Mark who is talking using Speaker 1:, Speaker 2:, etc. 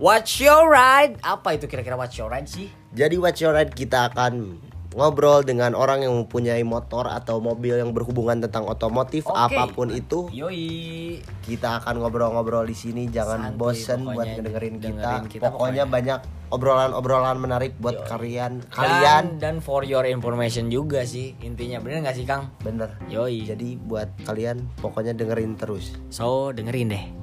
Speaker 1: What's your ride? Apa itu kira-kira what's your ride sih?
Speaker 2: Jadi What's Your Ride kita akan ngobrol dengan orang yang mempunyai motor atau mobil yang berhubungan tentang otomotif
Speaker 1: Oke.
Speaker 2: apapun itu
Speaker 1: Yoi.
Speaker 2: kita akan ngobrol-ngobrol di sini jangan
Speaker 1: Santuy
Speaker 2: bosen buat
Speaker 1: pokoknya,
Speaker 2: ngedengerin kita.
Speaker 1: dengerin kita pokoknya.
Speaker 2: pokoknya, banyak obrolan-obrolan menarik buat kalian kalian
Speaker 1: Kalian dan for your information juga sih intinya bener nggak sih Kang?
Speaker 2: bener
Speaker 1: Yoi.
Speaker 2: jadi buat kalian pokoknya dengerin terus
Speaker 1: So dengerin deh.